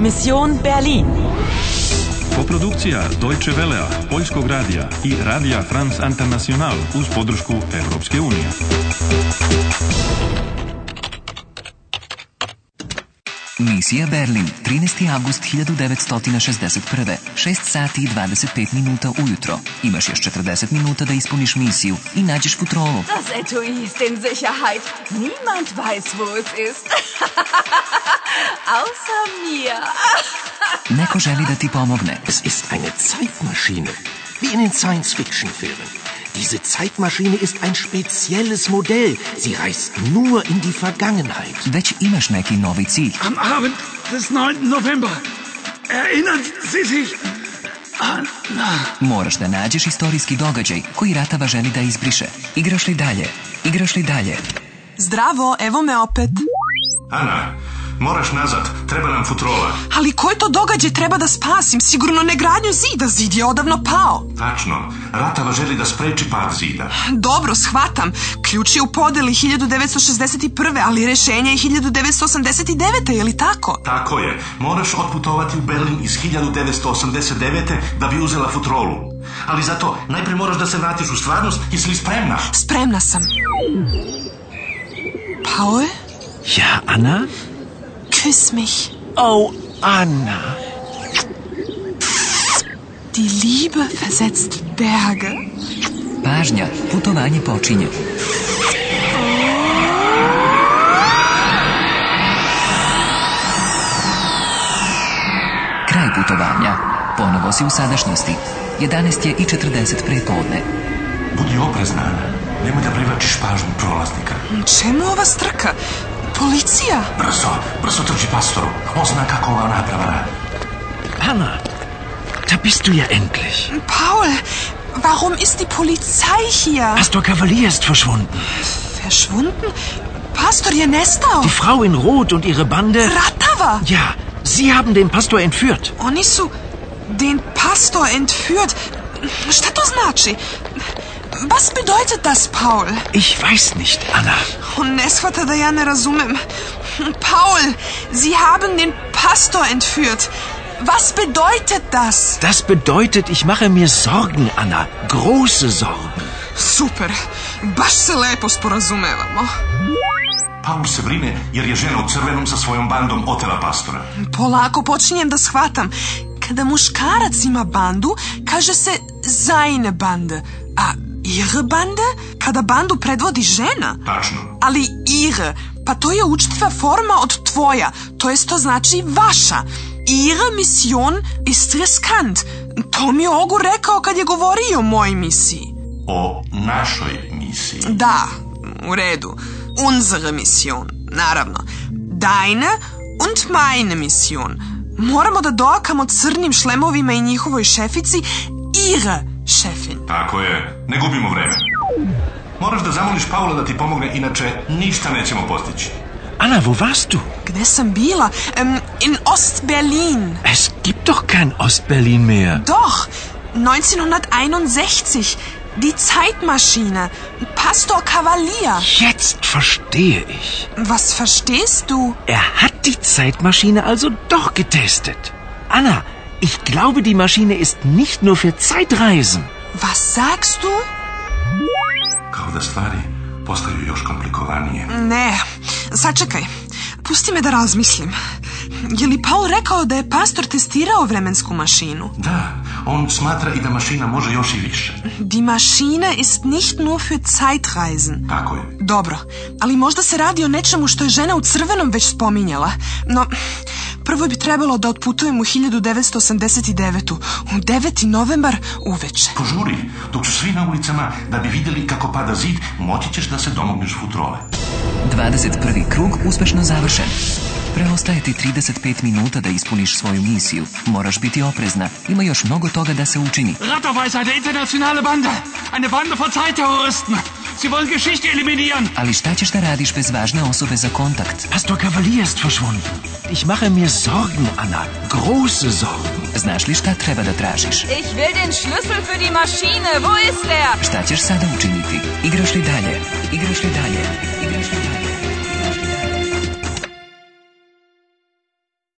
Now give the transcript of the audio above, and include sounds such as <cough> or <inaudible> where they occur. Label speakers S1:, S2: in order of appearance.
S1: Mission Berlin.
S2: Koprodukcija Deutsche Velea, Poljskog radija i Radija France International uz podršku Europske unije.
S3: Misija Berlin, 13. avgust 1961. 6 sati i 25 minuta ujutro. Imaš još 40 minuta da ispuniš misiju i nađeš futrolu.
S4: Das Etui er ist in Sicherheit. Niemand weiß, wo es ist. <laughs> Außer mir.
S3: Neko želi da ti pomogne.
S5: Es ist eine Zeitmaschine, wie in den Science-Fiction-Filmen. Diese Zeitmaschine ist ein spezielles Modell. Sie reist nur in die Vergangenheit.
S3: Već imaš neki novi cilj.
S6: Am Abend des 9. November. Erinnern Sie sich an...
S3: Moraš da nađeš istorijski događaj koji Ratava želi da izbriše. Igraš li dalje? Igraš li dalje?
S1: Zdravo, evo me opet.
S7: Ana, moraš nazad, treba nam futrola.
S1: Ali koji to događaj treba da spasim? Sigurno ne gradnju zida, zid je odavno pao.
S7: Tačno, Ratava želi da spreči pad zida.
S1: Dobro, shvatam. Ključ je u podeli 1961. ali rešenje je 1989. Je li tako?
S7: Tako je, moraš otputovati u Berlin iz 1989. da bi uzela futrolu. Ali zato, najprije moraš da se vratiš u stvarnost, jesi li spremna?
S1: Spremna sam. Pao je?
S5: Ja, Anna?
S1: Küss mich.
S5: Oh, Anna.
S1: Die Liebe versetzt Berge.
S3: Pažnja, putovanje počinje. Kraj putovanja. Ponovo si u sadašnjosti. 11 je i 40 prepodne.
S7: Budi oprezna, Ana. Nemoj da privlačiš pažnju prolaznika.
S1: Čemu ova strka? Policija?
S7: Brzo, brzo trči pastoru. On zna kako ova naprava radi.
S5: Anna, da bist du ja endlich.
S1: Paul, warum ist die Polizei hier?
S5: Astor Cavalier ist verschwunden.
S1: Verschwunden? Pastor je nestao.
S5: Die Frau in Rot und ihre Bande...
S1: Ratava!
S5: Ja, sie haben den Pastor entführt.
S1: Oni su den Pastor entführt. Šta to znači? Was bedeutet das, Paul?
S5: Ich weiß nicht, Anna.
S1: On ne shvata da ja ne razumem. Paul, Sie haben den Pastor entführt. Was bedeutet das?
S5: Das bedeutet, ich mache mir Sorgen, Anna. Große Sorgen.
S1: Super, baš se lepo sporazumevamo.
S7: Paul se brine jer je žena u crvenom sa svojom bandom otela pastora.
S1: Polako počinjem da shvatam. Kada muškarac ima bandu, kaže se seine bande, a ihre bande kada bandu predvodi žena.
S7: Tačno.
S1: Ali ihre, pa to je učtiva forma od tvoja, to jest to znači vaša. Ihre Mission ist riskant. To mi je Ogu rekao kad je govorio o mojoj misiji.
S7: O našoj misiji.
S1: Da, u redu. Unsere Mission, naravno. Deine und meine Mission. Moramo da dokamo crnim šlemovima i njihovoj šefici ihre šefin.
S7: Tako je, ne gubimo vreme. Moraš da zamoliš Paula da ti pomogne, inače ništa nećemo postići.
S5: Anna, wo warst du?
S1: Gde sam bila? Em, in Ost-Berlin.
S5: Es gibt doch kein Ostberlin mehr.
S1: Doch, 1961. Die Zeitmaschine. Pastor Cavalier.
S5: Jetzt verstehe ich.
S1: Was verstehst du?
S5: Er hat die Zeitmaschine also doch getestet. Anna, ich glaube, die Maschine ist nicht nur für Zeitreisen.
S1: Was sagst du?
S7: Kao da stvari postaju još komplikovanije.
S1: Ne, sačekaj. Pusti me da razmislim. Je li Paul rekao da je pastor testirao vremensku mašinu?
S7: Da, on smatra i da mašina može još i više.
S1: Die Maschine ist nicht nur für Zeitreisen.
S7: Tako je.
S1: Dobro, ali možda se radi o nečemu što je žena u crvenom već spominjala. No, prvo bi trebalo da otputujem u 1989. U 9. novembar uveče.
S7: Požuri, dok su svi na ulicama, da bi vidjeli kako pada zid, moći ćeš da se domogneš futrole.
S3: 21. krug uspešno završen. Preostaje ti 35 minuta da ispuniš svoju misiju. Moraš biti oprezna. Ima još mnogo toga da se učini.
S6: Ratava ist eine internationale Bande. Eine Bande von Zeitterroristen. Sie wollen Geschichte eliminieren.
S3: Ali šta ćeš da radiš bez važne osobe za kontakt?
S5: Pastor Cavalier ist verschwunden. Ich mache mir Sorgen, Anna. Große Sorgen.
S3: Znaš li šta treba da tražiš?
S4: Ich will den Schlüssel für die Maschine. Wo ist er?
S3: Šta ćeš sada učiniti? Igraš li dalje? Igraš li dalje? Igraš li dalje?